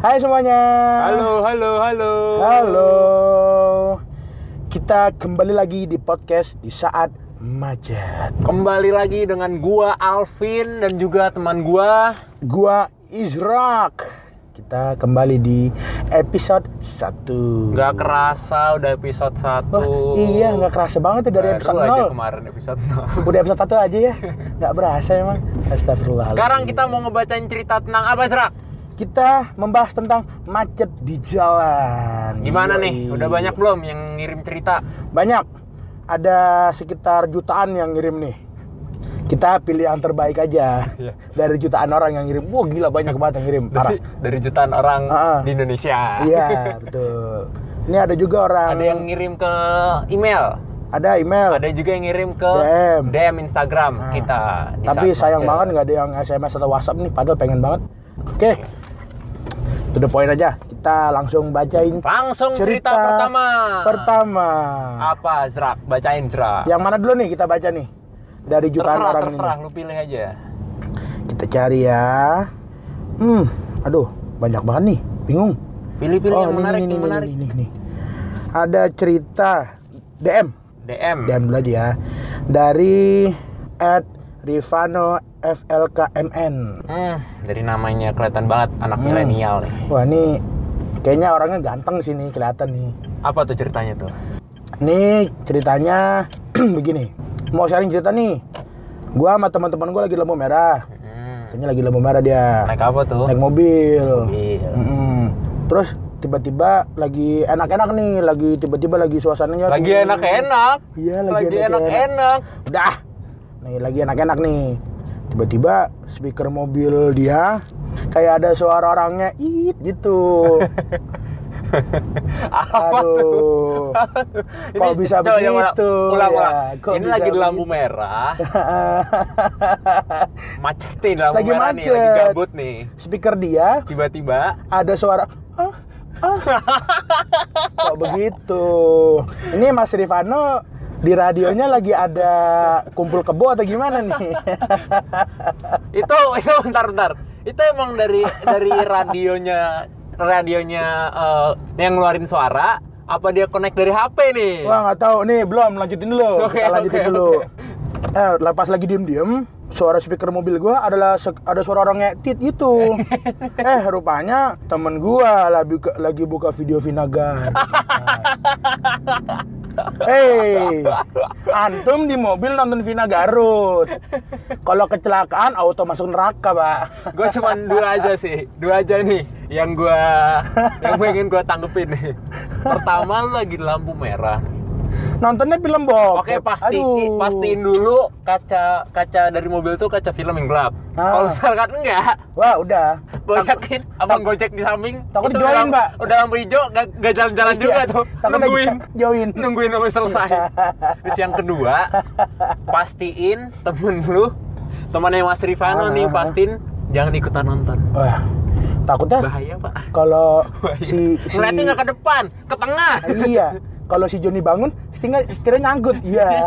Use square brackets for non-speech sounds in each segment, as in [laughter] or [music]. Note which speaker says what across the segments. Speaker 1: Hai semuanya.
Speaker 2: Halo, halo, halo.
Speaker 1: Halo. Kita kembali lagi di podcast di saat Majat.
Speaker 2: Kembali lagi dengan gua Alvin dan juga teman gua.
Speaker 1: Gua Izrak. Kita kembali di episode 1.
Speaker 2: Nggak kerasa udah episode 1.
Speaker 1: Wah, iya nggak kerasa banget tuh dari episode
Speaker 2: Nah, aja
Speaker 1: 0.
Speaker 2: kemarin episode 0.
Speaker 1: Udah episode 1 aja ya. Nggak berasa emang. Astagfirullahaladzim.
Speaker 2: Sekarang kita mau ngebacain cerita tentang apa, Zrak?
Speaker 1: kita membahas tentang macet di jalan. Yoi.
Speaker 2: Gimana nih? Udah banyak belum yang ngirim cerita?
Speaker 1: Banyak. Ada sekitar jutaan yang ngirim nih. Kita pilih yang terbaik aja.
Speaker 2: Iya.
Speaker 1: Dari jutaan orang yang ngirim. Wah, gila banyak banget yang ngirim. Parah.
Speaker 2: Dari, dari jutaan orang
Speaker 1: Ah.
Speaker 2: di Indonesia.
Speaker 1: Iya, betul. Ini ada juga orang
Speaker 2: Ada yang ngirim ke email,
Speaker 1: ada email.
Speaker 2: ada juga yang ngirim ke
Speaker 1: DM. Ah.
Speaker 2: Instagram kita. di
Speaker 1: Tapi
Speaker 2: saat
Speaker 1: sayang
Speaker 2: macet.
Speaker 1: banget nggak ada yang SMS atau WhatsApp nih, padahal pengen banget. Oke. To the point aja. Kita langsung bacain
Speaker 2: Langsung cerita, pertama.
Speaker 1: Pertama.
Speaker 2: apa Zrak? Bacain Zrak.
Speaker 1: Yang mana dulu nih kita baca nih? Dari jutaan
Speaker 2: terserah,
Speaker 1: orang
Speaker 2: terserah. Lu pilih aja.
Speaker 1: ini. Kita cari ya. Hmm, aduh, banyak banget nih. Bingung. Oh,
Speaker 2: Pilih-pilih yang
Speaker 1: ini,
Speaker 2: menarik,
Speaker 1: ini,
Speaker 2: yang
Speaker 1: ini,
Speaker 2: menarik.
Speaker 1: ini, ini. Ada cerita DM.
Speaker 2: DM.
Speaker 1: DM dulu aja ya. Dari at Rivano FLKMN.
Speaker 2: Hmm, dari namanya kelihatan banget anak
Speaker 1: Hmm.
Speaker 2: milenial nih.
Speaker 1: Wah, ini kayaknya orangnya ganteng sih nih kelihatan nih.
Speaker 2: Apa tuh ceritanya tuh?
Speaker 1: Nih ceritanya [clears throat] begini. Mau sharing cerita nih. Gua sama teman-teman gua lagi di lampu merah.
Speaker 2: Hmm.
Speaker 1: Kayaknya lagi lampu merah dia.
Speaker 2: Naik apa tuh? Iya.
Speaker 1: naik mobil.
Speaker 2: Mobil.
Speaker 1: Mm-mm. Terus tiba-tiba lagi enak-enak nih, lagi tiba-tiba lagi suasananya
Speaker 2: Lagi
Speaker 1: sepi.
Speaker 2: enak-enak.
Speaker 1: Iya, lagi
Speaker 2: lagi
Speaker 1: enak-enak. [laughs]
Speaker 2: enak-enak.
Speaker 1: Udah. Nih lagi enak-enak nih. Tiba-tiba speaker mobil dia kayak ada suara orangnya it gitu.
Speaker 2: [laughs] Apa
Speaker 1: Aduh.
Speaker 2: tuh?
Speaker 1: Kok bisa
Speaker 2: coba, coba,
Speaker 1: begitu?
Speaker 2: Ulang-ulang.
Speaker 1: Ya, kok
Speaker 2: Ini
Speaker 1: bisa
Speaker 2: lagi di lampu
Speaker 1: begitu? [laughs]
Speaker 2: merah. macet nih di lampu
Speaker 1: Lagi
Speaker 2: merah nih, lagi
Speaker 1: macet.
Speaker 2: gabut nih.
Speaker 1: speaker dia
Speaker 2: Tiba-tiba
Speaker 1: ada suara ah, ah. kok begitu ini Mas Rifano di radionya lagi ada kumpul kebo atau gimana nih
Speaker 2: itu [laughs] itu bentar bentar itu emang dari dari radionya radionya eh, yang ngeluarin suara apa dia connect dari HP nih
Speaker 1: wah nggak tahu nih belum lanjutin
Speaker 2: [laughs]
Speaker 1: dulu
Speaker 2: Iya. Oke,
Speaker 1: kita lanjutin
Speaker 2: oke,
Speaker 1: dulu eh lepas lagi diem diem suara speaker mobil gua adalah se- ada suara orang ngetit gitu
Speaker 2: [laughs]
Speaker 1: eh rupanya temen gua lagi buka, lagi buka video Vinagar Hei, antum di mobil nonton Vina Garut. Kalau kecelakaan auto masuk neraka, Pak.
Speaker 2: gue cuman dua aja sih dua aja nih yang gue yang pengen gue tanggepin nih pertama lu lagi di lampu merah
Speaker 1: Nontonnya film bokep.
Speaker 2: Oke pasti
Speaker 1: Aduh.
Speaker 2: pastiin dulu kaca kaca dari mobil tuh kaca film yang gelap.
Speaker 1: Ah.
Speaker 2: Kalau misalkan enggak,
Speaker 1: Wah, udah.
Speaker 2: gue yakin abang gojek di samping.
Speaker 1: takut
Speaker 2: itu
Speaker 1: join,
Speaker 2: udah lampu-
Speaker 1: Mbak. Iya,
Speaker 2: Udah lampu hijau, gak, gak jalan-jalan juga tuh.
Speaker 1: Takut lagi
Speaker 2: Nungguin.
Speaker 1: join.
Speaker 2: nungguin sampai selesai. Terus yang kedua, pastiin temen lu, temannya Mas
Speaker 1: Ah.
Speaker 2: Rifano nih, pastiin jangan ikutan nonton.
Speaker 1: Wah, takutnya
Speaker 2: Bahaya pak. [laughs]
Speaker 1: kalau
Speaker 2: Bahaya.
Speaker 1: si si
Speaker 2: Ngeliatnya nggak ke depan, ke tengah.
Speaker 1: iya, kalau si Joni bangun, setirnya setirnya nyangkut. Iya.
Speaker 2: [laughs]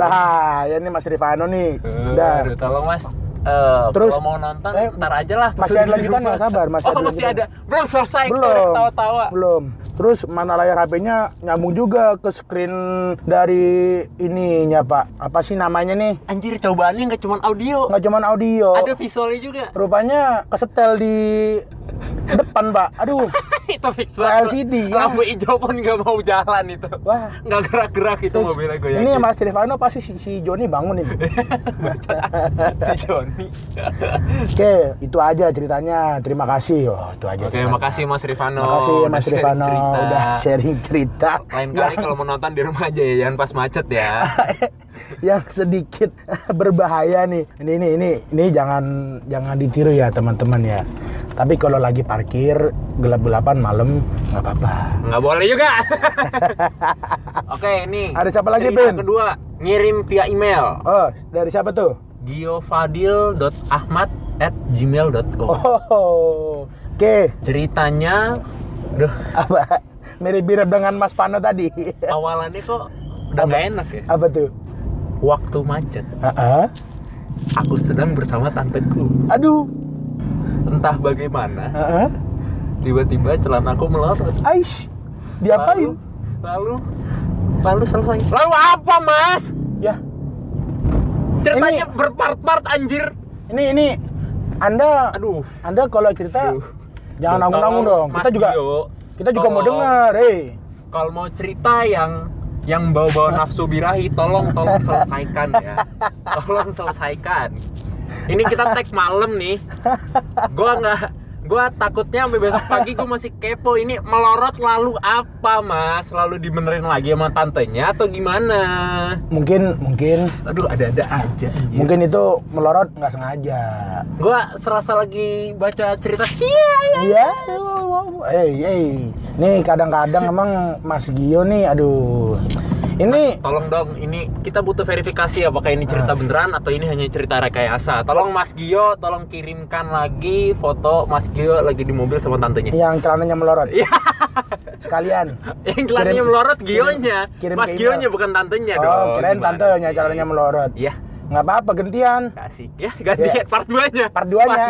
Speaker 1: Bahaya nih Mas Rifano nih.
Speaker 2: Aduh,
Speaker 1: Udah.
Speaker 2: tolong mas. Eh,
Speaker 1: Terus-
Speaker 2: kalau mau nonton,
Speaker 1: eh,
Speaker 2: ntar aja lah. pas
Speaker 1: masih
Speaker 2: udah
Speaker 1: ada
Speaker 2: di
Speaker 1: lanjutan
Speaker 2: rumah.
Speaker 1: nggak? Sabar, masih
Speaker 2: oh,
Speaker 1: ada
Speaker 2: masih
Speaker 1: lanjutan.
Speaker 2: ada. Belum selesai, kita udah
Speaker 1: belum
Speaker 2: ketawa-tawa.
Speaker 1: belum terus mana layar HP-nya nyambung juga ke screen dari ininya pak apa sih namanya nih
Speaker 2: Anjir, cobaannya nggak cuma audio,
Speaker 1: nggak cuman audio
Speaker 2: ada visualnya juga. [laughs]
Speaker 1: rupanya kesetel di depan pak aduh
Speaker 2: itu fix
Speaker 1: Ke
Speaker 2: banget.
Speaker 1: LCD, ya.
Speaker 2: Lampu hijau pun nggak mau jalan itu.
Speaker 1: Wah.
Speaker 2: Nggak gerak-gerak [laughs] itu
Speaker 1: Terus,
Speaker 2: mobilnya gue
Speaker 1: ini Mas Rifano pasti si, si Joni bangun
Speaker 2: [laughs]
Speaker 1: ini
Speaker 2: si Joni.
Speaker 1: oke itu aja ceritanya terima kasih oh itu aja
Speaker 2: Oke,
Speaker 1: terima
Speaker 2: makasih Mas Rivano.
Speaker 1: makasih ya,
Speaker 2: Udah
Speaker 1: Mas Rifano
Speaker 2: sharing cerita.
Speaker 1: udah sharing
Speaker 2: [laughs]
Speaker 1: cerita
Speaker 2: Lain kali kalau mau nonton di rumah aja ya, jangan pas macet ya.
Speaker 1: yang sedikit [laughs] berbahaya nih. Ini ini ini ini jangan jangan ditiru ya teman-teman ya. Tapi kalau lagi parkir gelap-gelapan malam nggak apa-apa.
Speaker 2: Nggak boleh
Speaker 1: [laughs]
Speaker 2: juga. Oke, ini.
Speaker 1: Ada siapa lagi,
Speaker 2: cerita
Speaker 1: Ben?
Speaker 2: kedua, ngirim via email
Speaker 1: Oh, dari siapa tuh? [laughs]
Speaker 2: giofadil.ahmad@gmail.com.
Speaker 1: Oh. Oke,
Speaker 2: Ceritanya duh,
Speaker 1: apa mirip-mirip dengan Mas Pano tadi. [laughs]
Speaker 2: awalannya kok udah nggak enak ya.
Speaker 1: apa tuh?
Speaker 2: Waktu macet.
Speaker 1: Heeh.
Speaker 2: Aku sedang bersama tanteku.
Speaker 1: Aduh.
Speaker 2: Entah bagaimana,
Speaker 1: Heeh.
Speaker 2: tiba-tiba celanaku melorot.
Speaker 1: Aish. Diapain?
Speaker 2: Lalu, lalu, lalu selesai. Lalu apa, Mas?
Speaker 1: Ya.
Speaker 2: Ceritanya berpart-part anjir.
Speaker 1: Ini ini Anda
Speaker 2: Aduh.
Speaker 1: Anda kalau cerita
Speaker 2: Aduh.
Speaker 1: jangan nanggung-nanggung
Speaker 2: Tolong,
Speaker 1: dong. Kita
Speaker 2: Mas
Speaker 1: juga
Speaker 2: Dio,
Speaker 1: kita juga mau
Speaker 2: tolong,
Speaker 1: dengar, eh.
Speaker 2: Kalau mau cerita yang yang bawa-bawa nafsu birahi, tolong tolong selesaikan
Speaker 1: [laughs]
Speaker 2: ya. Tolong selesaikan. Ini kita tag malam nih. Gua nggak gua takutnya sampai besok pagi gua masih kepo ini melorot lalu apa mas lalu dibenerin lagi sama tantenya atau gimana
Speaker 1: Mungkin mungkin
Speaker 2: aduh ada-ada aja anjir.
Speaker 1: mungkin itu melorot nggak sengaja.
Speaker 2: gua serasa lagi baca cerita Sia. ya.
Speaker 1: Iya. Eh, eh. Nih kadang-kadang emang Mas Gio nih aduh. Ini
Speaker 2: Tolong dong, ini kita butuh verifikasi apakah ini
Speaker 1: Ah.
Speaker 2: cerita beneran atau ini hanya cerita rekayasa. Tolong Mas Gio, tolong kirimkan lagi foto Mas Gio lagi di mobil sama tantenya. [laughs]
Speaker 1: yang celananya melorot.
Speaker 2: Iya.
Speaker 1: Sekalian.
Speaker 2: Yang celananya
Speaker 1: Kirim-
Speaker 2: melorot Gionya,
Speaker 1: kirim
Speaker 2: Mas
Speaker 1: ke
Speaker 2: Gionya
Speaker 1: email.
Speaker 2: bukan tantenya Iya dong.
Speaker 1: Oh, keren
Speaker 2: Gimana
Speaker 1: tantenya
Speaker 2: sih?
Speaker 1: celananya melorot.
Speaker 2: Iya,
Speaker 1: Nggak apa-apa gantian.
Speaker 2: kasih. Ya, gantian part 2-nya.
Speaker 1: Part duanya.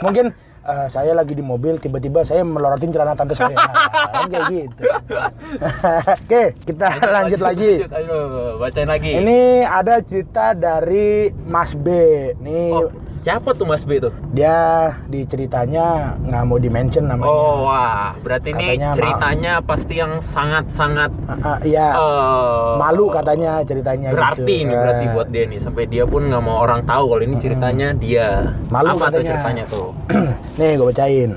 Speaker 1: Mungkin eh, saya lagi di mobil tiba-tiba saya melorotin celana tante saya. Nah, kan kayak gitu. [laughs] Oke, kita [laughs] lanjut lagi.
Speaker 2: Ayo, bacain lagi.
Speaker 1: Ini ada cerita dari Mas B. Nih
Speaker 2: Oh, siapa tuh Mas B tuh?
Speaker 1: dia di ceritanya nggak mau di mention namanya.
Speaker 2: Oh, wah. Berarti ini
Speaker 1: Katanya, Ma-
Speaker 2: ceritanya pasti yang sangat-sangat
Speaker 1: Ah, ah, Iya,
Speaker 2: eh,
Speaker 1: malu katanya ceritanya
Speaker 2: berarti
Speaker 1: gitu.
Speaker 2: ini
Speaker 1: Eh,
Speaker 2: berarti buat dia nih sampai dia pun nggak mau orang tahu kalau ini ceritanya dia
Speaker 1: Malu
Speaker 2: apa tuh
Speaker 1: katanya.
Speaker 2: ceritanya tuh
Speaker 1: [clears throat] Nih gue bacain.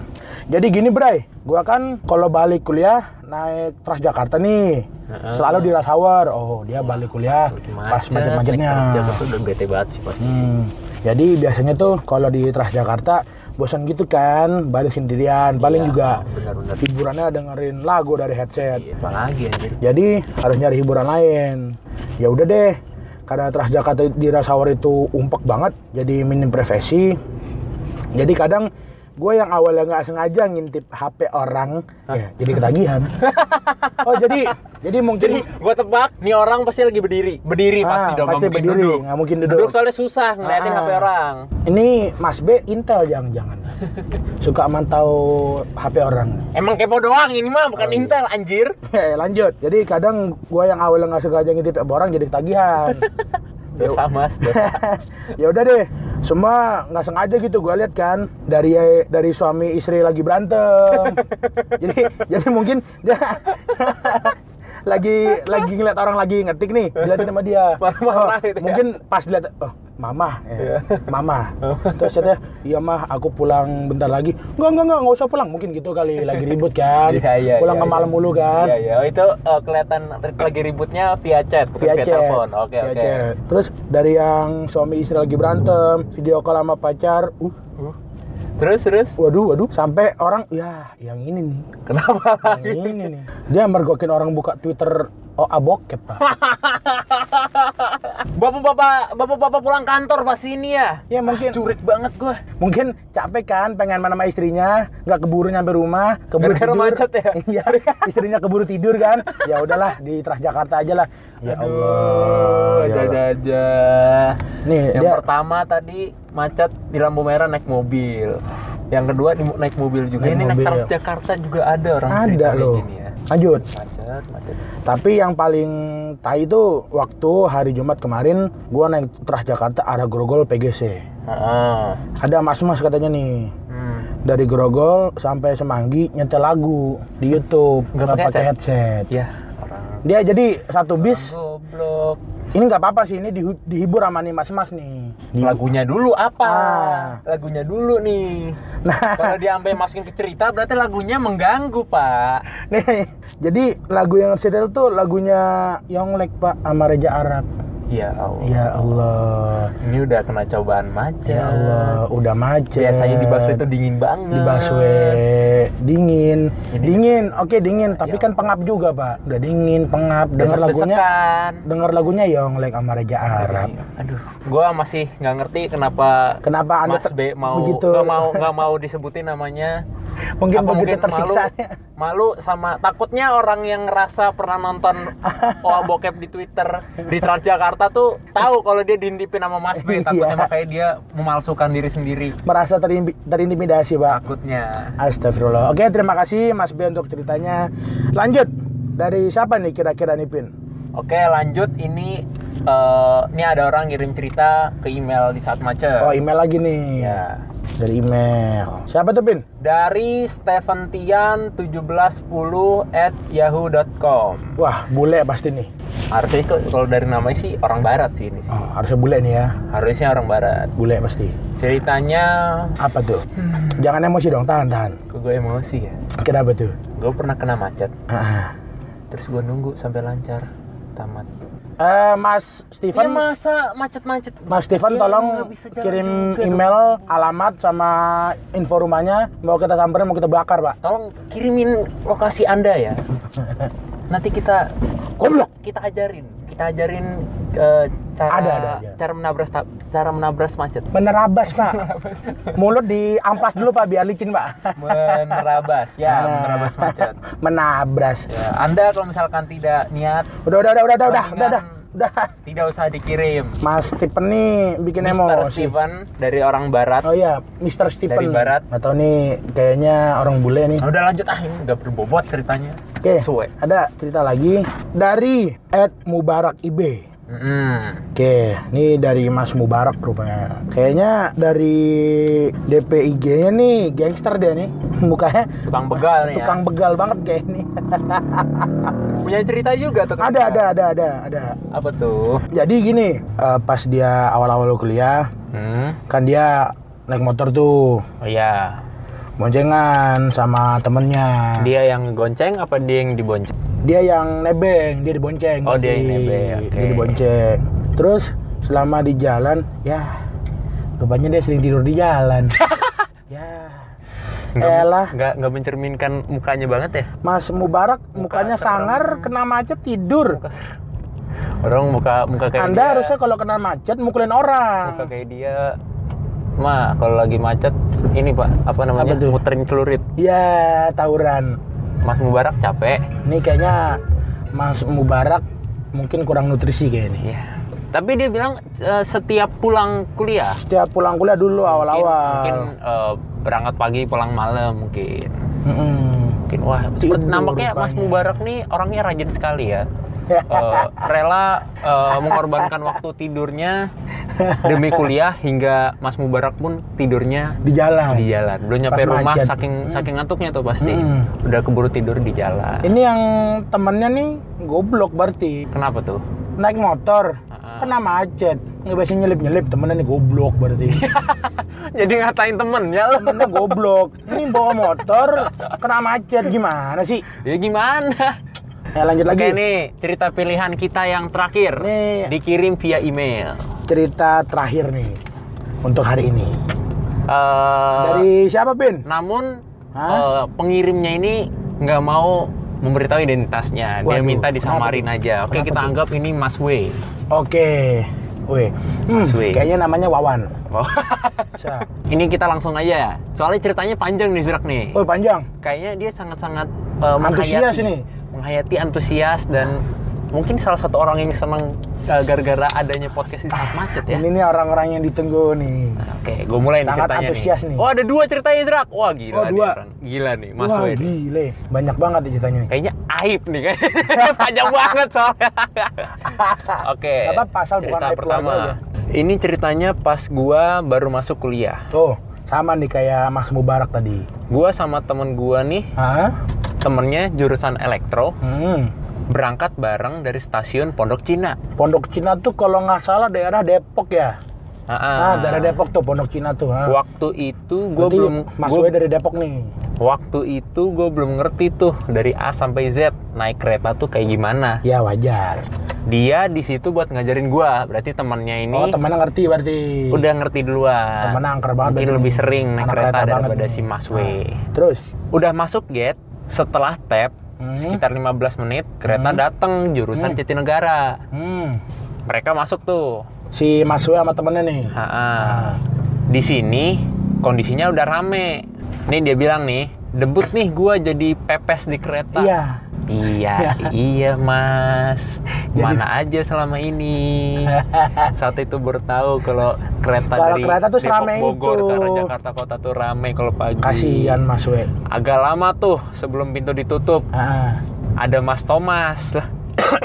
Speaker 1: Jadi gini Bray, gua kan kalau balik kuliah naik Transjakarta nih.
Speaker 2: Heeh.
Speaker 1: Selalu di Rasawar. Oh, dia balik kuliah pas
Speaker 2: naik
Speaker 1: macet-macetnya.
Speaker 2: Transjakarta tuh udah bete banget sih pasti
Speaker 1: Hmm. Jadi biasanya tuh kalau di Transjakarta bosan gitu kan, balik sendirian. Paling
Speaker 2: Iya,
Speaker 1: juga
Speaker 2: benar-benar
Speaker 1: hiburannya dengerin lagu dari headset.
Speaker 2: Iya, apalagi anjir
Speaker 1: Jadi harus nyari hiburan lain. Ya udah deh, karena Transjakarta di Rasawar itu umpek banget, jadi minim privasi. Jadi kadang gue yang awalnya nggak sengaja ngintip HP orang, ya, jadi ketagihan. oh jadi jadi
Speaker 2: jadi
Speaker 1: mungkin
Speaker 2: gua tebak nih orang pasti lagi berdiri berdiri
Speaker 1: Ah,
Speaker 2: pasti dong nggak
Speaker 1: pasti
Speaker 2: mungkin
Speaker 1: berdiri,
Speaker 2: duduk.
Speaker 1: nggak mungkin duduk.
Speaker 2: soalnya susah ngeliatin
Speaker 1: Ah.
Speaker 2: hp orang
Speaker 1: ini Mas B Intel jangan-jangan suka mantau HP orang.
Speaker 2: emang kepo doang ini mah
Speaker 1: Oh,
Speaker 2: bukan
Speaker 1: iya.
Speaker 2: intel anjir
Speaker 1: Hei, lanjut. Jadi kadang gua yang awalnya nggak sengaja ngintip orang jadi ketagihan. Ya-
Speaker 2: dosa mas dosa.
Speaker 1: [laughs] ya udah deh, semua nggak sengaja gitu gua lihat kan dari dari suami istri lagi
Speaker 2: [laughs]
Speaker 1: berantem. jadi jadi mungkin dia [laughs] lagi lagi ngeliat orang lagi ngetik nih diliatin sama dia Oh,
Speaker 2: Marah-marah gitu ya. Iya.
Speaker 1: mungkin pas lihat oh mama ya.
Speaker 2: [laughs]
Speaker 1: mama
Speaker 2: Oh.
Speaker 1: terus katanya iya mah aku pulang bentar lagi enggak enggak enggak nggak usah pulang mungkin gitu kali lagi ribut kan
Speaker 2: Iya, iya,
Speaker 1: pulang
Speaker 2: iya,
Speaker 1: ke malam
Speaker 2: iya.
Speaker 1: mulu kan
Speaker 2: Iya, iya. Oh, itu eh, kelihatan lagi ributnya via chat, bukan
Speaker 1: via chat.
Speaker 2: telepon. Oke,
Speaker 1: Via
Speaker 2: oke.
Speaker 1: chat. Terus dari yang suami istri lagi berantem, video call sama pacar, uh,
Speaker 2: Terus, terus.
Speaker 1: waduh, waduh, sampai orang, ya, yang ini nih,
Speaker 2: Kenapa? [laughs]
Speaker 1: yang ini nih. Dia mergokin orang buka Twitter, oh abokep
Speaker 2: [laughs]
Speaker 1: pak.
Speaker 2: Bapak-bapak, bapak-bapak pulang kantor pasti ini ya.
Speaker 1: Ya mungkin,
Speaker 2: Curik banget gua.
Speaker 1: mungkin capek kan, pengen main sama istrinya, nggak keburu nyampe rumah, keburu
Speaker 2: Gara-gara
Speaker 1: tidur.
Speaker 2: macet ya?
Speaker 1: [laughs] Iya, istrinya keburu tidur kan. Ya udahlah, di Transjakarta aja lah. Ya Allah.
Speaker 2: Aduh,
Speaker 1: ya
Speaker 2: ada
Speaker 1: Allah.
Speaker 2: aja.
Speaker 1: Nih,
Speaker 2: Yang
Speaker 1: dia-
Speaker 2: pertama tadi macet di lampu merah naik mobil. Yang kedua di, naik mobil juga.
Speaker 1: Naik
Speaker 2: ini naik
Speaker 1: mobil.
Speaker 2: Transjakarta juga ada orang cerita
Speaker 1: Ada
Speaker 2: kayak
Speaker 1: loh.
Speaker 2: gini ya.
Speaker 1: Lanjut.
Speaker 2: Macet, macet.
Speaker 1: Tapi yang paling tai itu waktu hari Jumat kemarin gua naik Transjakarta arah Grogol PGC.
Speaker 2: Heeh.
Speaker 1: Ada mas-mas katanya nih
Speaker 2: Hmm.
Speaker 1: dari Grogol sampai Semanggi nyetel lagu di YouTube
Speaker 2: Nggak
Speaker 1: nggak
Speaker 2: pakai
Speaker 1: pakai headset.
Speaker 2: Ya, orang
Speaker 1: Dia jadi satu bis
Speaker 2: goblok.
Speaker 1: ini nggak apa-apa sih ini dihu- dihibur sama nih mas-mas nih. Di-
Speaker 2: Lagunya dulu apa?
Speaker 1: Ah.
Speaker 2: Lagunya dulu nih.
Speaker 1: Nah,
Speaker 2: Kalau dia sampai masukin ke cerita berarti lagunya mengganggu, Pak.
Speaker 1: [laughs] Nih, jadi lagu yang setel tuh lagunya Yonglek Pak sama Reja Arab.
Speaker 2: Ya Allah.
Speaker 1: Ya Allah.
Speaker 2: Ini udah kena cobaan macet.
Speaker 1: Ya Allah, udah macet.
Speaker 2: Biasanya di busway itu dingin banget.
Speaker 1: di busway dingin
Speaker 2: Ini-
Speaker 1: dingin oke dingin tapi
Speaker 2: Ya.
Speaker 1: kan pengap juga pak udah dingin pengap dengar lagunya
Speaker 2: Desek-desekan.
Speaker 1: dengar lagunya yang like sama
Speaker 2: Iya.
Speaker 1: Reja Arab
Speaker 2: Aduh, gua masih nggak ngerti kenapa
Speaker 1: kenapa anda
Speaker 2: Mas
Speaker 1: ter-
Speaker 2: B mau
Speaker 1: begitu
Speaker 2: nggak mau nggak mau disebutin namanya
Speaker 1: [laughs] mungkin
Speaker 2: Apa
Speaker 1: begitu
Speaker 2: mungkin
Speaker 1: tersiksa
Speaker 2: malu, malu sama takutnya orang yang ngerasa pernah nonton oa bokep di Twitter di Transjakarta tuh tahu kalau dia diintipin sama Mas B takutnya
Speaker 1: Iya.
Speaker 2: makanya dia memalsukan diri sendiri
Speaker 1: [laughs] merasa terimpi- terintimidasi pak
Speaker 2: takutnya
Speaker 1: Astagfirullah oke terima kasih Mas B untuk ceritanya lanjut dari siapa nih kira-kira nih Pin
Speaker 2: oke lanjut ini eh, ini ada orang ngirim cerita ke email di saat macet
Speaker 1: oh email lagi nih
Speaker 2: ya
Speaker 1: dari email siapa tuh Pin
Speaker 2: dari Stefan Tian 1710 at yahoo.com
Speaker 1: wah bule pasti nih
Speaker 2: harusnya ke- kalau dari namanya sih orang barat sih ini sih
Speaker 1: oh, harusnya bule nih ya
Speaker 2: harusnya orang barat
Speaker 1: bule pasti
Speaker 2: ceritanya
Speaker 1: apa tuh
Speaker 2: Hmm.
Speaker 1: jangan emosi dong tahan tahan
Speaker 2: kok gue emosi ya
Speaker 1: kenapa tuh
Speaker 2: gue pernah kena macet
Speaker 1: Ah.
Speaker 2: terus gue nunggu sampai lancar tamat
Speaker 1: Eh, Mas Steven
Speaker 2: ya masa macet-macet
Speaker 1: Mas Steven
Speaker 2: Ya,
Speaker 1: tolong
Speaker 2: nggak bisa jalan
Speaker 1: kirim
Speaker 2: juga dong.
Speaker 1: email alamat sama info rumahnya mau kita samperin mau kita bakar pak
Speaker 2: tolong kirimin lokasi anda
Speaker 1: [laughs]
Speaker 2: ya nanti kita
Speaker 1: goblok
Speaker 2: kita ajarin kita ajarin eh, cara
Speaker 1: Ada, ada, ada.
Speaker 2: cara menabras ta- cara menabras
Speaker 1: [laughs]
Speaker 2: macet
Speaker 1: menerabas
Speaker 2: [laughs]
Speaker 1: pak mulut di amplas dulu pak biar licin pak Ah.
Speaker 2: menerabas ya menerabas macet
Speaker 1: menabras
Speaker 2: Ya, anda kalau misalkan tidak niat
Speaker 1: udah udah udah udah udah udah udah, udah.
Speaker 2: tidak usah dikirim
Speaker 1: Mas Steven nih bikin
Speaker 2: Mr.
Speaker 1: emosi
Speaker 2: Steven dari orang barat
Speaker 1: oh iya Mr. Steven
Speaker 2: Dari barat.
Speaker 1: atau nih kayaknya orang bule nih
Speaker 2: Nah, udah lanjut ah ini udah berbobot ceritanya
Speaker 1: oke
Speaker 2: Suwe.
Speaker 1: ada cerita lagi dari Ed Mubarak IB
Speaker 2: Mm-mm.
Speaker 1: Oke, ini dari Mas Mubarak rupanya. Kayaknya dari DPIG-nya nih gangster dia nih. [laughs] Mukanya
Speaker 2: tukang begal nih
Speaker 1: tukang
Speaker 2: ya.
Speaker 1: begal banget kayak ini.
Speaker 2: punya cerita juga tukang
Speaker 1: [laughs] ada, ada,
Speaker 2: begal.
Speaker 1: ada, ada, ada.
Speaker 2: apa tuh
Speaker 1: Jadi gini, eh, pas dia awal-awal kuliah,
Speaker 2: hmm.
Speaker 1: kan dia naik motor tuh,
Speaker 2: oh ya
Speaker 1: boncengan sama temennya. Dia,
Speaker 2: dia yang gonceng apa dia yang dibonceng
Speaker 1: yang nebeng, dia dibonceng.
Speaker 2: Oh, dia yang
Speaker 1: berarti.
Speaker 2: nebeng, oke.
Speaker 1: Dia dibonceng. Terus selama di jalan, ya rupanya dia sering tidur di jalan.
Speaker 2: [laughs]
Speaker 1: ya. Elah.
Speaker 2: nggak nggak mencerminkan mukanya banget ya
Speaker 1: Mas Mubarak mukanya
Speaker 2: serem.
Speaker 1: sangar kena macet tidur.
Speaker 2: muka orang muka muka kayak
Speaker 1: Anda
Speaker 2: dia,
Speaker 1: harusnya kalau kena macet mukulin orang.
Speaker 2: muka kayak dia mah kalau lagi macet ini pak apa namanya
Speaker 1: Apa tuh?
Speaker 2: muterin celurit
Speaker 1: Ya, tawuran.
Speaker 2: Mas Mubarak capek
Speaker 1: Ini kayaknya Mas Mubarak mungkin kurang nutrisi kayak ini.
Speaker 2: Iya. Tapi dia bilang eh, setiap pulang kuliah.
Speaker 1: Setiap pulang kuliah dulu
Speaker 2: mungkin- Mungkin,
Speaker 1: awal-awal.
Speaker 2: eh, berangkat pagi pulang malam mungkin.
Speaker 1: Mm-mm.
Speaker 2: Mungkin wah
Speaker 1: Tidur
Speaker 2: seperti nampaknya Mas
Speaker 1: rupanya.
Speaker 2: Mubarak nih orangnya rajin sekali ya. Eh, rela eh, mengorbankan waktu tidurnya demi kuliah hingga Mas Mubarak pun tidurnya
Speaker 1: Di jalan.
Speaker 2: di jalan. Belum nyampe
Speaker 1: Pas
Speaker 2: rumah
Speaker 1: macet.
Speaker 2: saking saking ngantuknya tuh pasti.
Speaker 1: Hmm.
Speaker 2: Udah keburu tidur di jalan.
Speaker 1: Ini yang temennya nih goblok berarti.
Speaker 2: Kenapa tuh? [laughs]
Speaker 1: Naik motor
Speaker 2: Ah.
Speaker 1: kena macet. Nggak biasa nyelip-nyelip temennya nih goblok berarti.
Speaker 2: Jadi ngatain temennya loh.
Speaker 1: temennya goblok ini bawa motor kena macet gimana sih
Speaker 2: Ya gimana?
Speaker 1: ya lanjut lagi
Speaker 2: Oke nih cerita pilihan kita yang terakhir
Speaker 1: Nih.
Speaker 2: dikirim via email.
Speaker 1: cerita terakhir nih untuk hari ini
Speaker 2: Eh,
Speaker 1: dari siapa Pin
Speaker 2: Namun
Speaker 1: Hah?
Speaker 2: eh, pengirimnya ini nggak mau memberitahu identitasnya. Dia
Speaker 1: Waduh,
Speaker 2: minta disamarin
Speaker 1: kenapa tuh?
Speaker 2: aja. Oke
Speaker 1: Kenapa
Speaker 2: kita
Speaker 1: tuh?
Speaker 2: anggap ini Mas W.
Speaker 1: oke weh hmm,
Speaker 2: Mas Wei.
Speaker 1: kayaknya namanya Wawan
Speaker 2: Wow.
Speaker 1: Siap.
Speaker 2: [laughs] ini kita langsung aja. ya. Soalnya ceritanya panjang nih Zrak nih.
Speaker 1: Woi panjang
Speaker 2: Kayaknya dia sangat-sangat eh,
Speaker 1: Oh. antusias
Speaker 2: menghayati-
Speaker 1: ini
Speaker 2: menghayati antusias dan mungkin salah satu orang yang senang eh, gara-gara adanya podcast di saat macet ya.
Speaker 1: ini nih orang-orang yang ditunggu nih
Speaker 2: Oke, gue mulai nih
Speaker 1: Sangat
Speaker 2: ceritanya
Speaker 1: antusias nih.
Speaker 2: Oh, ada dua ceritanya, Zrak. Wah, gila
Speaker 1: Oh,
Speaker 2: nih
Speaker 1: dua.
Speaker 2: orang. Gila nih, Mas
Speaker 1: wah
Speaker 2: Wei. nih.
Speaker 1: gile banyak banget ya ceritanya nih
Speaker 2: Kayaknya aib nih, kayaknya [laughs] panjang banget
Speaker 1: [laughs]
Speaker 2: soalnya. Oke.
Speaker 1: Gak apa-apa, asal bukan
Speaker 2: cerita
Speaker 1: aib keluarga
Speaker 2: pertama.
Speaker 1: aja.
Speaker 2: Ini ceritanya pas gua baru masuk kuliah.
Speaker 1: tuh sama nih kayak Mas Mubarak tadi
Speaker 2: Gua sama temen gua nih,
Speaker 1: Hah?
Speaker 2: temennya jurusan elektro,
Speaker 1: hmm.
Speaker 2: berangkat bareng dari stasiun Pondok Cina.
Speaker 1: Pondok Cina tuh kalau nggak salah daerah Depok ya Ah,
Speaker 2: Ah,
Speaker 1: dari Depok tuh Pondok Cina tuh. Ha.
Speaker 2: Waktu itu gue
Speaker 1: Berarti
Speaker 2: belum
Speaker 1: Mas
Speaker 2: gua-
Speaker 1: Wei dari Depok nih.
Speaker 2: Waktu itu gue belum ngerti tuh dari A sampai Z naik kereta tuh kayak gimana.
Speaker 1: Ya wajar.
Speaker 2: dia di situ buat ngajarin gua berarti temannya ini
Speaker 1: Oh, temennya ngerti berarti.
Speaker 2: udah ngerti duluan
Speaker 1: Temennya Hmm. angker banget.
Speaker 2: mungkin
Speaker 1: berarti
Speaker 2: lebih
Speaker 1: nih.
Speaker 2: sering naik
Speaker 1: Anak
Speaker 2: kereta
Speaker 1: banget
Speaker 2: daripada
Speaker 1: nih.
Speaker 2: si Mas W
Speaker 1: Ah. Terus
Speaker 2: udah masuk gate setelah tap
Speaker 1: Hmm.
Speaker 2: sekitar 15 menit kereta
Speaker 1: Hmm.
Speaker 2: datang jurusan
Speaker 1: Hmm.
Speaker 2: Jatinegara
Speaker 1: hmm,
Speaker 2: mereka masuk tuh
Speaker 1: si Mas Wei sama temennya nih. Ah.
Speaker 2: Ha-ha. di sini kondisinya udah rame nih dia bilang nih debut nih gua jadi pepes di kereta.
Speaker 1: Iya. [laughs]
Speaker 2: Iya, iya mas.
Speaker 1: Jadi-
Speaker 2: Mana aja selama ini.
Speaker 1: [laughs]
Speaker 2: Saat itu bertahu kalau kereta
Speaker 1: Kalau
Speaker 2: dari
Speaker 1: kereta tuh
Speaker 2: Depok,
Speaker 1: seramai
Speaker 2: Bogor
Speaker 1: itu.
Speaker 2: ke arah Jakarta Kota tuh rame kalau pagi.
Speaker 1: Kasihan Mas We.
Speaker 2: Agak lama tuh sebelum pintu ditutup
Speaker 1: Ah.
Speaker 2: ada Mas Thomas
Speaker 1: [coughs]
Speaker 2: lah.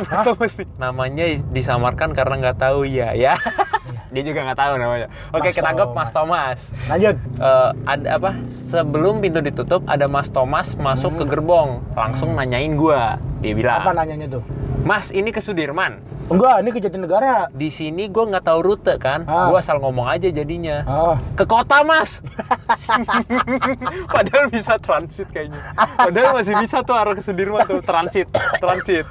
Speaker 2: Mas Thomas nih. Namanya disamarkan karena nggak tahu ya, ya. [laughs] Dia juga nggak tahu namanya.
Speaker 1: Iya.
Speaker 2: Oke,
Speaker 1: Mas
Speaker 2: kita anggap Mas
Speaker 1: Thomas.
Speaker 2: Thomas.
Speaker 1: Lanjut.
Speaker 2: Eh, ada apa sebelum pintu ditutup ada Mas Thomas masuk
Speaker 1: Hmm.
Speaker 2: ke gerbong langsung nanyain gua dia bilang
Speaker 1: Apa nanyanya tuh?
Speaker 2: Mas ini ke Sudirman
Speaker 1: Enggak, ini ke Jatinegara.
Speaker 2: di sini gua nggak tahu rute kan
Speaker 1: Ah.
Speaker 2: gua asal ngomong aja jadinya
Speaker 1: Oh.
Speaker 2: ke kota Mas [laughs] padahal bisa transit kayaknya padahal masih bisa tuh arah ke Sudirman tuh transit transit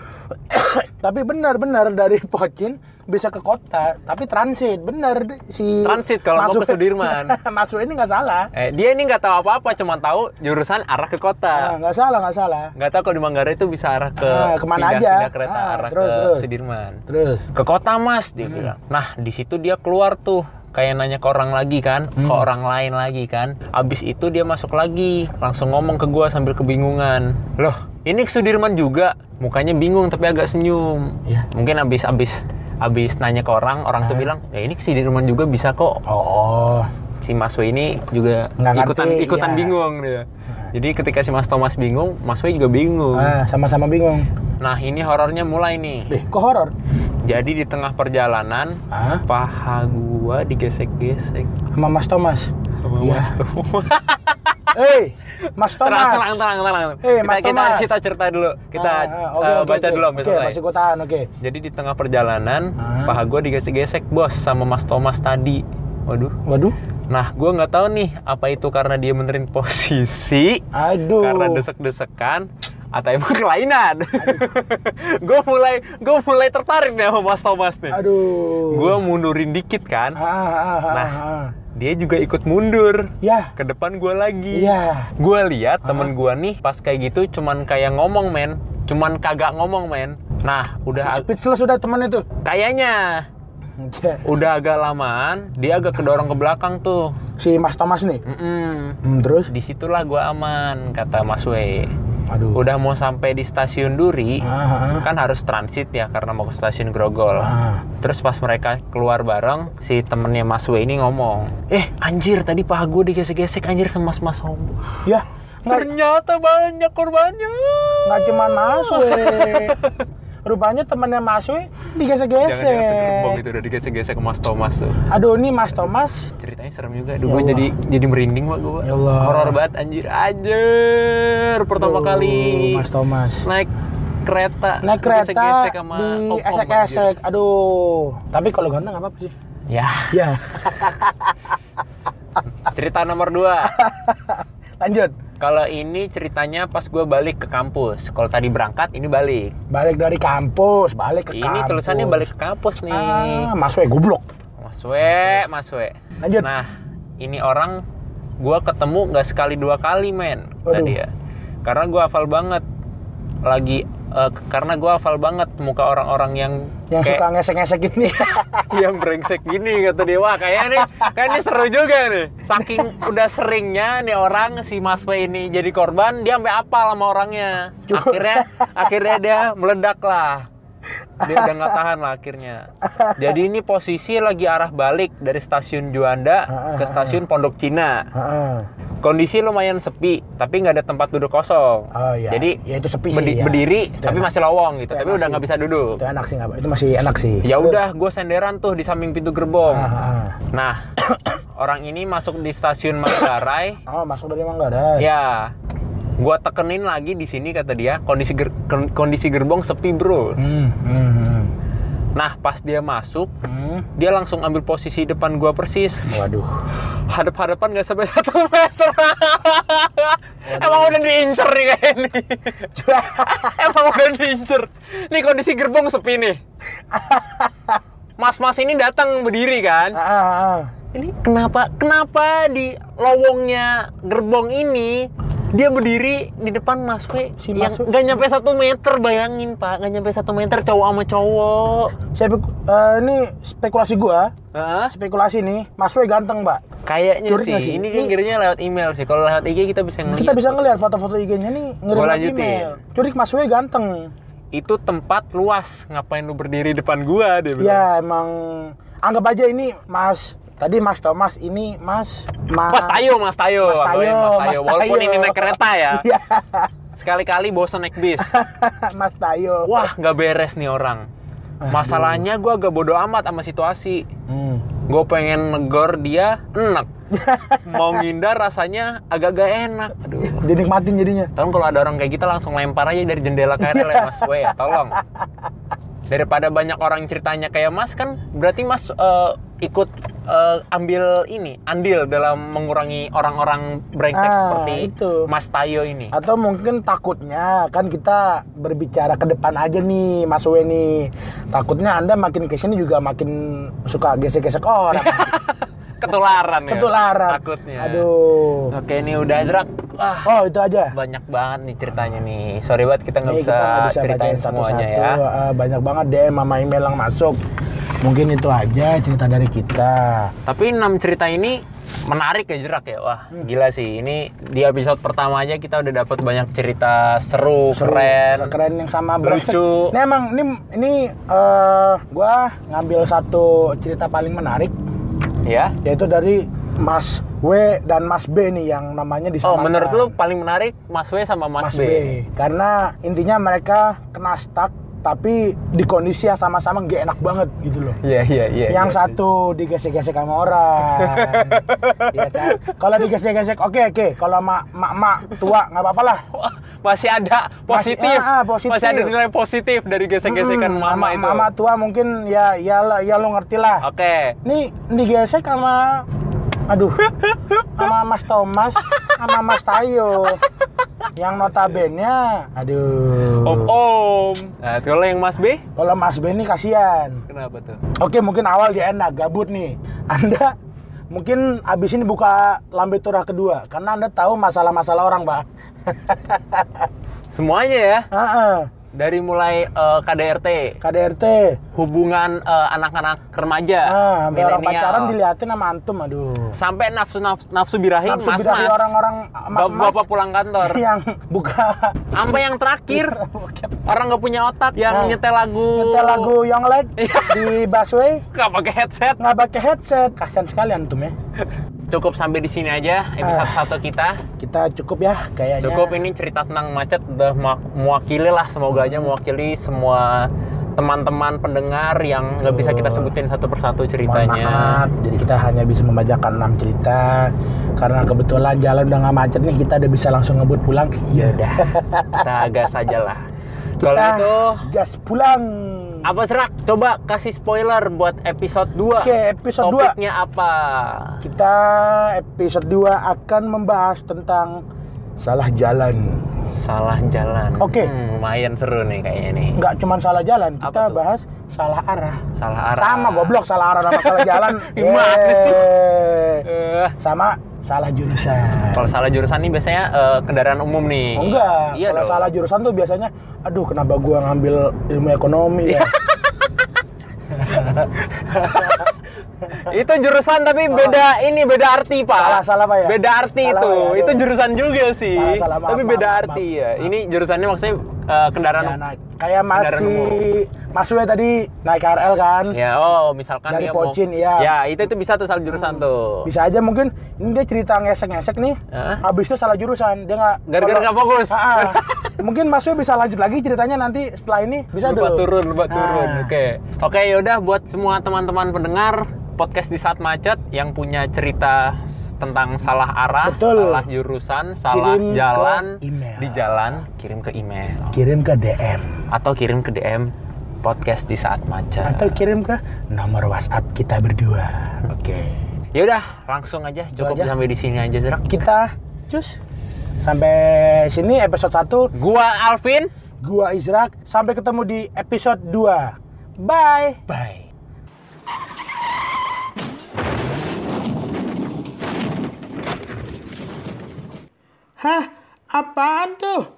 Speaker 1: Tapi benar-benar dari [laughs] Pocin bisa ke kota, tapi transit. Benar si
Speaker 2: Transit kalau mau
Speaker 1: Mas
Speaker 2: ke
Speaker 1: We- [laughs]
Speaker 2: Sudirman.
Speaker 1: Mas We ini nggak salah.
Speaker 2: eh, dia ini nggak tahu apa-apa cuma tahu jurusan arah ke
Speaker 1: Ah,
Speaker 2: kota
Speaker 1: Nggak salah, nggak salah.
Speaker 2: nggak tahu kalau di Manggarai itu bisa arah ke
Speaker 1: Ah, kemana
Speaker 2: pindah,
Speaker 1: aja.
Speaker 2: pindah kereta
Speaker 1: Ah,
Speaker 2: arah
Speaker 1: terus,
Speaker 2: ke
Speaker 1: terus.
Speaker 2: Sudirman
Speaker 1: Terus.
Speaker 2: ke kota mas dia
Speaker 1: Hmm.
Speaker 2: bilang nah di situ dia keluar tuh kayak nanya ke orang lagi kan ke
Speaker 1: Hmm.
Speaker 2: orang lain lagi kan abis itu dia masuk lagi langsung ngomong ke gua sambil kebingungan loh ini ke Sudirman juga mukanya bingung tapi agak senyum
Speaker 1: Iya. Ah.
Speaker 2: mungkin abis abis abis nanya ke orang orang tuh bilang ya ini ke Sudirman juga bisa kok
Speaker 1: Oh,
Speaker 2: si Mas Wei ini juga
Speaker 1: Nggak ngerti,
Speaker 2: ikutan ikutan
Speaker 1: iya.
Speaker 2: bingung dia jadi ketika si Mas Thomas bingung Mas Wei juga bingung
Speaker 1: Ah, sama-sama bingung.
Speaker 2: nah ini horornya mulai nih
Speaker 1: Eh, kok horor?
Speaker 2: jadi di tengah perjalanan
Speaker 1: Ah,
Speaker 2: paha gua digesek-gesek
Speaker 1: sama Mas
Speaker 2: [laughs]
Speaker 1: Thomas.
Speaker 2: sama
Speaker 1: Iya.
Speaker 2: Mas [laughs] Thomas.
Speaker 1: Hei, Mas
Speaker 2: Terang,
Speaker 1: Thomas.
Speaker 2: terang, terang, terang.
Speaker 1: Eh,
Speaker 2: kita,
Speaker 1: Mas
Speaker 2: kita,
Speaker 1: Thomas.
Speaker 2: kita cerita dulu. Kita
Speaker 1: Ah, ah, oke,
Speaker 2: eh,
Speaker 1: oke,
Speaker 2: baca
Speaker 1: oke.
Speaker 2: dulu sampai
Speaker 1: Oke,
Speaker 2: selesai.
Speaker 1: masih gua tahan, oke.
Speaker 2: Jadi di tengah perjalanan,
Speaker 1: Ah.
Speaker 2: paha gua digesek-gesek, Bos, sama Mas Thomas tadi. Waduh.
Speaker 1: Waduh.
Speaker 2: Nah, gua nggak tahu nih apa itu karena dia benerin posisi,
Speaker 1: Aduh.
Speaker 2: karena desek-desekan atau emang kelainan. [laughs] gue mulai gue mulai tertarik nih sama Mas Thomas nih.
Speaker 1: Aduh.
Speaker 2: Gue mundurin dikit kan.
Speaker 1: Ah, ah, ah, ah,
Speaker 2: Nah.
Speaker 1: ah.
Speaker 2: Dia juga ikut mundur.
Speaker 1: Ya.
Speaker 2: Ke depan gua lagi.
Speaker 1: Iya.
Speaker 2: Gue lihat temen gue nih pas kayak gitu cuman kayak ngomong men, cuman kagak ngomong men. Nah udah ag-
Speaker 1: Speechless sudah teman itu.
Speaker 2: kayaknya udah agak lamaan, dia agak kedorong ke belakang tuh.
Speaker 1: Si Mas Thomas nih.
Speaker 2: Mm-mm.
Speaker 1: Hmm, terus?
Speaker 2: Disitulah gue aman kata Mas Wei.
Speaker 1: Aduh.
Speaker 2: Udah mau sampai di stasiun Duri
Speaker 1: Ah, ah,
Speaker 2: kan harus transit ya karena mau ke stasiun Grogol.
Speaker 1: ah.
Speaker 2: Terus pas mereka keluar bareng, si temennya Mas Wei ini ngomong, eh anjir tadi paha gue digesek-gesek anjir sama mas-mas homo.
Speaker 1: Ya, nggak
Speaker 2: Ternyata banyak korbannya.
Speaker 1: nggak cuman Mas We.
Speaker 2: [laughs]
Speaker 1: Rupanya temannya Mas We
Speaker 2: Jangan-jangan segerbong
Speaker 1: digesek-gesek.
Speaker 2: itu udah digesek-gesek ke Mas Thomas tuh.
Speaker 1: Aduh, ini Mas Thomas.
Speaker 2: Ceritanya serem juga. Aduh,
Speaker 1: Ya
Speaker 2: gue
Speaker 1: Allah.
Speaker 2: jadi jadi merinding pak gue.
Speaker 1: Ya Allah.
Speaker 2: Horor banget anjir. Anjir. Pertama
Speaker 1: Aduh,
Speaker 2: kali
Speaker 1: Mas Thomas.
Speaker 2: naik kereta.
Speaker 1: Naik kereta
Speaker 2: digesek-gesek sama
Speaker 1: di
Speaker 2: opom, anjir.
Speaker 1: esek-esek. Aduh. Tapi kalau ganteng nggak apa-apa sih.
Speaker 2: Ya.
Speaker 1: Ya,
Speaker 2: Cerita nomor
Speaker 1: [laughs]
Speaker 2: dua.
Speaker 1: lanjut.
Speaker 2: Kalau ini ceritanya pas gue balik ke kampus. Kalau tadi berangkat, ini balik.
Speaker 1: Balik dari kampus, balik ke
Speaker 2: ini
Speaker 1: kampus.
Speaker 2: tulisannya balik ke kampus
Speaker 1: Ah,
Speaker 2: nih.
Speaker 1: Mas We goblok.
Speaker 2: Mas We, Mas We.
Speaker 1: Lanjut.
Speaker 2: Nah, ini orang gua ketemu nggak sekali dua kali, men.
Speaker 1: Waduh.
Speaker 2: Tadi ya. Karena gua hafal banget lagi eh, karena gua hafal banget muka orang-orang yang
Speaker 1: Yang suka ngesek-ngesek
Speaker 2: [laughs]
Speaker 1: ini.
Speaker 2: yang brengsek gini kata dia wah kayaknya nih kayak ini seru juga nih saking udah seringnya nih orang si Mas W ini jadi korban dia sampai apal sama orangnya akhirnya akhirnya dia meledak lah dia udah nggak tahan lah akhirnya jadi ini posisi lagi arah balik dari stasiun Juanda ke stasiun Pondok Cina
Speaker 1: Heeh.
Speaker 2: kondisi lumayan sepi tapi nggak ada tempat duduk kosong
Speaker 1: Oh iya.
Speaker 2: jadi
Speaker 1: ya itu sepi
Speaker 2: berdi-
Speaker 1: sih. ya.
Speaker 2: berdiri tapi
Speaker 1: enak.
Speaker 2: masih lowong gitu
Speaker 1: Itu
Speaker 2: tapi
Speaker 1: enak
Speaker 2: udah
Speaker 1: sih.
Speaker 2: nggak bisa duduk
Speaker 1: Itu enak sih nggak apa. Itu masih enak sih.
Speaker 2: ya udah gue senderan tuh di samping pintu gerbong
Speaker 1: Ah, ah.
Speaker 2: Nah, [coughs] orang ini masuk di stasiun Manggarai.
Speaker 1: Oh, masuk dari Manggarai.
Speaker 2: ya, gua tekenin lagi di sini kata dia, kondisi ger- ker- kondisi gerbong sepi, Bro.
Speaker 1: Hmm, hmm, hmm.
Speaker 2: Nah, pas dia masuk,
Speaker 1: Hmm.
Speaker 2: dia langsung ambil posisi depan gua persis.
Speaker 1: Waduh.
Speaker 2: Hadap-hadapan nggak sampai [laughs] satu meter. Emang udah diincer nih kayak ini. Emang udah diincer. Nih kondisi gerbong sepi nih. Mas-mas ini datang berdiri kan.
Speaker 1: Ah, ah, ah.
Speaker 2: ini kenapa kenapa di lowongnya gerbong ini dia berdiri di depan Mas W
Speaker 1: Si
Speaker 2: yang
Speaker 1: Mas W.
Speaker 2: nggak nyampe satu meter bayangin pak nggak nyampe satu meter cowok sama cowok
Speaker 1: [laughs] Saya pik- eh, ini spekulasi gua,
Speaker 2: Hah?
Speaker 1: spekulasi nih. Mas Wei ganteng, Pak.
Speaker 2: kayaknya
Speaker 1: Curi nggak
Speaker 2: sih
Speaker 1: sih?
Speaker 2: ini
Speaker 1: Ini-
Speaker 2: kira lewat email sih kalau lewat IG kita bisa ngeliat
Speaker 1: Kita bisa ngelihat foto-foto IG-nya nih ngirim
Speaker 2: Gua
Speaker 1: lewat
Speaker 2: lanjutin.
Speaker 1: email. Curik Mas Wei ganteng.
Speaker 2: itu tempat luas ngapain lu berdiri depan gua dia bilang
Speaker 1: Ya emang anggap aja ini Mas tadi Mas Thomas ini Mas Mas,
Speaker 2: Mas
Speaker 1: [laughs]
Speaker 2: Tayo, Mas Tayo,
Speaker 1: Mas Tayo,
Speaker 2: Anggapin Mas
Speaker 1: Mas
Speaker 2: Tayo. Walaupun
Speaker 1: Tayo.
Speaker 2: ini naik kereta ya,
Speaker 1: [laughs] Iya,
Speaker 2: sekali-kali bosen naik
Speaker 1: [laughs]
Speaker 2: bis.
Speaker 1: Mas Tayo.
Speaker 2: Wah, nggak beres nih orang. Masalahnya gua agak bodo amat sama situasi.
Speaker 1: Hmm.
Speaker 2: Gue pengen negor dia,
Speaker 1: [laughs]
Speaker 2: enak. Mau ngindar rasanya agak gak enak. Aduh.
Speaker 1: Dinikmatin jadinya.
Speaker 2: Tolong kalau ada orang kayak kita langsung lempar aja dari jendela KRL ya Mas Wei, tolong. Daripada banyak orang ceritanya kayak Mas kan, berarti Mas eh, ikut eh, ambil ini andil dalam mengurangi orang-orang brengsek
Speaker 1: Ah,
Speaker 2: seperti
Speaker 1: itu.
Speaker 2: Mas Tayo ini.
Speaker 1: Atau mungkin takutnya kan kita berbicara ke depan aja nih Mas Wei nih. Takutnya Anda makin kesini juga makin suka gesek-gesek
Speaker 2: [laughs]
Speaker 1: orang. [laughs]
Speaker 2: Ketularan ya.
Speaker 1: Ketularan.
Speaker 2: Takutnya.
Speaker 1: Aduh.
Speaker 2: Oke, ini udah Ezrak. Ah,
Speaker 1: Oh, itu aja.
Speaker 2: banyak banget nih ceritanya nih. Sorry banget kita nggak
Speaker 1: Nih
Speaker 2: bisa,
Speaker 1: Iya, kita nggak bisa
Speaker 2: ceritain
Speaker 1: bacain
Speaker 2: semuanya
Speaker 1: satu-satu.
Speaker 2: ya.
Speaker 1: Eh, banyak banget DM sama email yang masuk. Mungkin itu aja cerita dari kita.
Speaker 2: Tapi enam cerita ini menarik ya jerak ya. Wah,
Speaker 1: Hmm.
Speaker 2: gila sih. Ini di episode pertama aja kita udah dapat banyak cerita seru,
Speaker 1: Seru,
Speaker 2: keren.
Speaker 1: keren yang sama brengsek.
Speaker 2: Lucu.
Speaker 1: Ini emang ini ini eh, gua ngambil satu cerita paling menarik
Speaker 2: Ya.
Speaker 1: yaitu dari Mas W dan Mas B nih yang namanya di
Speaker 2: Oh, menurut lu paling menarik Mas W sama Mas,
Speaker 1: Mas
Speaker 2: B.
Speaker 1: B. Karena intinya mereka kena stuck tapi di kondisi yang sama-sama nggak enak banget gitu loh.
Speaker 2: Iya, iya, iya.
Speaker 1: yang
Speaker 2: iya.
Speaker 1: satu digesek-gesek sama
Speaker 2: [laughs]
Speaker 1: orang Iya kan? kalau digesek-gesek oke oke kalau mak mak mak tua nggak apa-apa lah
Speaker 2: Wah, masih ada
Speaker 1: Masih-
Speaker 2: positif.
Speaker 1: ah, ah, positif.
Speaker 2: Masih ada nilai positif dari gesek-gesekan
Speaker 1: Mm-mm,
Speaker 2: mama, itu.
Speaker 1: Hmm, mama tua mungkin ya ya lah- ya lo ngerti lah
Speaker 2: Oke.
Speaker 1: nih digesek sama aduh sama Mas Thomas sama Mas Tayo yang notabene aduh
Speaker 2: Om-om. Nah, kalau yang Mas B
Speaker 1: kalau Mas Benny kasihan
Speaker 2: kenapa tuh?
Speaker 1: Oke mungkin awal dia enak gabut nih. Anda mungkin abis ini buka lambe turah kedua karena anda tahu masalah-masalah orang pak.
Speaker 2: Semuanya ya.
Speaker 1: Heeh.
Speaker 2: Dari mulai eh, KDRT,
Speaker 1: KDRT,
Speaker 2: hubungan eh, anak-anak remaja,
Speaker 1: ah, sampai orang
Speaker 2: milenial.
Speaker 1: pacaran diliatin sama antum, aduh.
Speaker 2: sampai nafsu nafsu, nafsu birahi
Speaker 1: Nafsu
Speaker 2: mas
Speaker 1: birahi
Speaker 2: mas
Speaker 1: orang-orang mas-mas
Speaker 2: bapak pulang kantor
Speaker 1: [laughs] yang buka
Speaker 2: sampai yang
Speaker 1: [laughs]
Speaker 2: terakhir orang nggak punya otak yang
Speaker 1: Nah,
Speaker 2: nyetel lagu
Speaker 1: nyetel lagu yang
Speaker 2: [laughs]
Speaker 1: lag
Speaker 2: Iya.
Speaker 1: di busway
Speaker 2: nggak pakai headset
Speaker 1: nggak pakai headset, kasihan sekali antum ya.
Speaker 2: cukup sampai di sini aja episode
Speaker 1: Ah.
Speaker 2: satu kita
Speaker 1: Kita cukup ya kayaknya.
Speaker 2: cukup ini cerita tentang macet udah mak- mewakili lah semoga aja mewakili semua teman-teman pendengar yang nggak bisa kita sebutin satu persatu
Speaker 1: Mohon
Speaker 2: ceritanya
Speaker 1: maaf, jadi kita hanya bisa membacakan 6 cerita karena kebetulan jalan udah nggak macet nih kita udah bisa langsung ngebut pulang. Ya udah,
Speaker 2: kita gas aja
Speaker 1: [laughs]
Speaker 2: lah kalau gitu,
Speaker 1: kita
Speaker 2: itu
Speaker 1: gas pulang.
Speaker 2: apa serak coba kasih spoiler buat episode 2
Speaker 1: Oke, episode 2
Speaker 2: topiknya apa
Speaker 1: kita episode 2 akan membahas tentang salah jalan.
Speaker 2: salah jalan.
Speaker 1: Oke.
Speaker 2: Hmm, lumayan seru nih kayaknya nih.
Speaker 1: Nggak cuma salah jalan,
Speaker 2: Apa
Speaker 1: kita
Speaker 2: tuh?
Speaker 1: bahas salah arah.
Speaker 2: Salah arah.
Speaker 1: Sama goblok salah arah sama salah jalan.
Speaker 2: [laughs] Gimana sih?
Speaker 1: Yeay.
Speaker 2: Eh,
Speaker 1: Sama salah jurusan.
Speaker 2: kalau salah jurusan nih biasanya eh, kendaraan umum nih.
Speaker 1: Oh, enggak,
Speaker 2: Iya
Speaker 1: kalau
Speaker 2: dong.
Speaker 1: salah jurusan tuh biasanya, aduh kenapa gua ngambil ilmu ekonomi
Speaker 2: Iya.
Speaker 1: ya?
Speaker 2: Itu jurusan tapi beda ini beda arti pak.
Speaker 1: Oh. Salah, salah, Pak, ya?
Speaker 2: Beda arti
Speaker 1: Salah,
Speaker 2: itu.
Speaker 1: Pak, ya,
Speaker 2: itu
Speaker 1: aduh.
Speaker 2: jurusan juga sih.
Speaker 1: Salah, salah, maaf,
Speaker 2: tapi beda
Speaker 1: maaf,
Speaker 2: arti
Speaker 1: maaf,
Speaker 2: ya.
Speaker 1: maaf.
Speaker 2: Ini jurusannya maksudnya eh, kendaraan.
Speaker 1: Ya,
Speaker 2: umum.
Speaker 1: naik. Kayak
Speaker 2: Kendaraan
Speaker 1: masih Mas Wei tadi naik KRL kan?
Speaker 2: Ya, oh misalkan
Speaker 1: Dari
Speaker 2: dia mau-
Speaker 1: Pocin, iya. Hmm.
Speaker 2: Ya, itu itu bisa tuh salah jurusan tuh.
Speaker 1: Bisa aja mungkin ini dia cerita ngesek-ngesek nih.
Speaker 2: Hah?
Speaker 1: Habis itu salah jurusan, dia nggak
Speaker 2: Gara-gara
Speaker 1: kalau-
Speaker 2: nggak fokus.
Speaker 1: Ah, ah. mungkin Mas Wei bisa lanjut lagi ceritanya nanti setelah ini bisa
Speaker 2: lupa
Speaker 1: tuh.
Speaker 2: turun, lupa
Speaker 1: Ah.
Speaker 2: turun. Oke. Oke, yaudah buat semua teman-teman pendengar podcast di saat macet yang punya cerita s- tentang salah arah,
Speaker 1: Betul.
Speaker 2: salah jurusan, salah
Speaker 1: Kirim ke
Speaker 2: jalan
Speaker 1: email.
Speaker 2: di jalan, kirim ke email
Speaker 1: Kirim ke DM
Speaker 2: atau kirim ke DM podcast di saat macet.
Speaker 1: atau kirim ke nomor WhatsApp kita berdua. Oke.
Speaker 2: Yaudah, langsung aja cukup
Speaker 1: aja.
Speaker 2: sampai di sini aja, Zerak.
Speaker 1: Kita cus sampai sini episode 1
Speaker 2: Gua Alvin.
Speaker 1: gua Izrak sampai ketemu di episode 2. Bye.
Speaker 2: Bye.
Speaker 1: Hah? Apaan tuh?